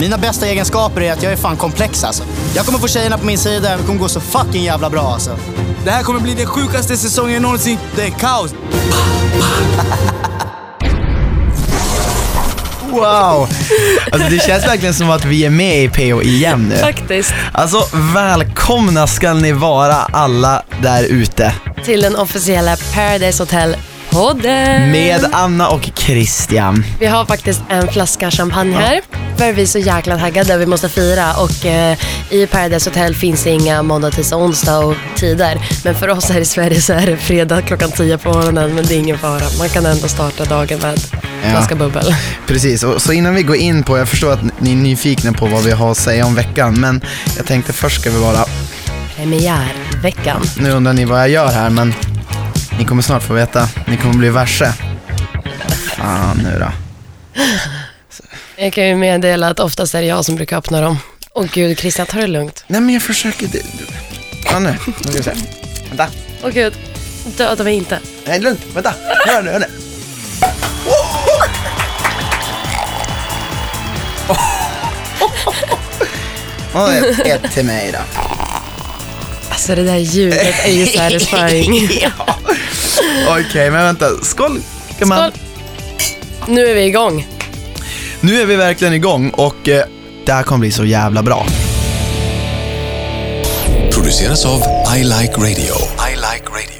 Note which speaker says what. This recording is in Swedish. Speaker 1: Mina bästa egenskaper är att jag är fan komplex alltså. Jag kommer få tjejerna på min sida, det kommer gå så fucking jävla bra alltså.
Speaker 2: Det här kommer bli den sjukaste säsongen någonsin. Det är kaos.
Speaker 3: Wow! Alltså det känns verkligen som att vi är med i PO igen nu.
Speaker 4: Faktiskt.
Speaker 3: Alltså välkomna ska ni vara alla där ute.
Speaker 4: Till den officiella Paradise Hotel-podden.
Speaker 3: Med Anna och Christian.
Speaker 4: Vi har faktiskt en flaska champagne här. För vi är så jäkla taggade, vi måste fira. Och eh, i Paradise Hotel finns det inga måndag, tisdag, onsdag och tider. Men för oss här i Sverige så är det fredag klockan 10 på morgonen. Men det är ingen fara, man kan ändå starta dagen med en
Speaker 3: Ja.
Speaker 4: flaska bubbel.
Speaker 3: Precis, och så innan vi går in på, jag förstår att ni är nyfikna på vad vi har att säga om veckan, men jag tänkte först ska vi bara,
Speaker 4: Premiärveckan.
Speaker 3: nu undrar ni vad jag gör här, men ni kommer snart få veta, ni kommer bli varse. Fan nu då.
Speaker 4: Jag kan ju meddela att oftast är det jag som brukar öppna dem. Åh gud, Christian, ta det lugnt.
Speaker 3: Nej men jag försöker, det, det. Ja, nu, nu ska vi se. Vänta,
Speaker 4: Åh gud, döda mig inte.
Speaker 3: nej lugnt, vänta, hör nu, hör nu. Och ett, ett till mig då.
Speaker 4: Alltså det där ljudet är ju satisfying.
Speaker 3: Okej, men vänta. Skål, gumman.
Speaker 4: Skål. Nu är vi igång.
Speaker 3: Nu är vi verkligen igång och eh, det här kommer bli så jävla bra.
Speaker 5: Produceras av I Like Radio. I like radio.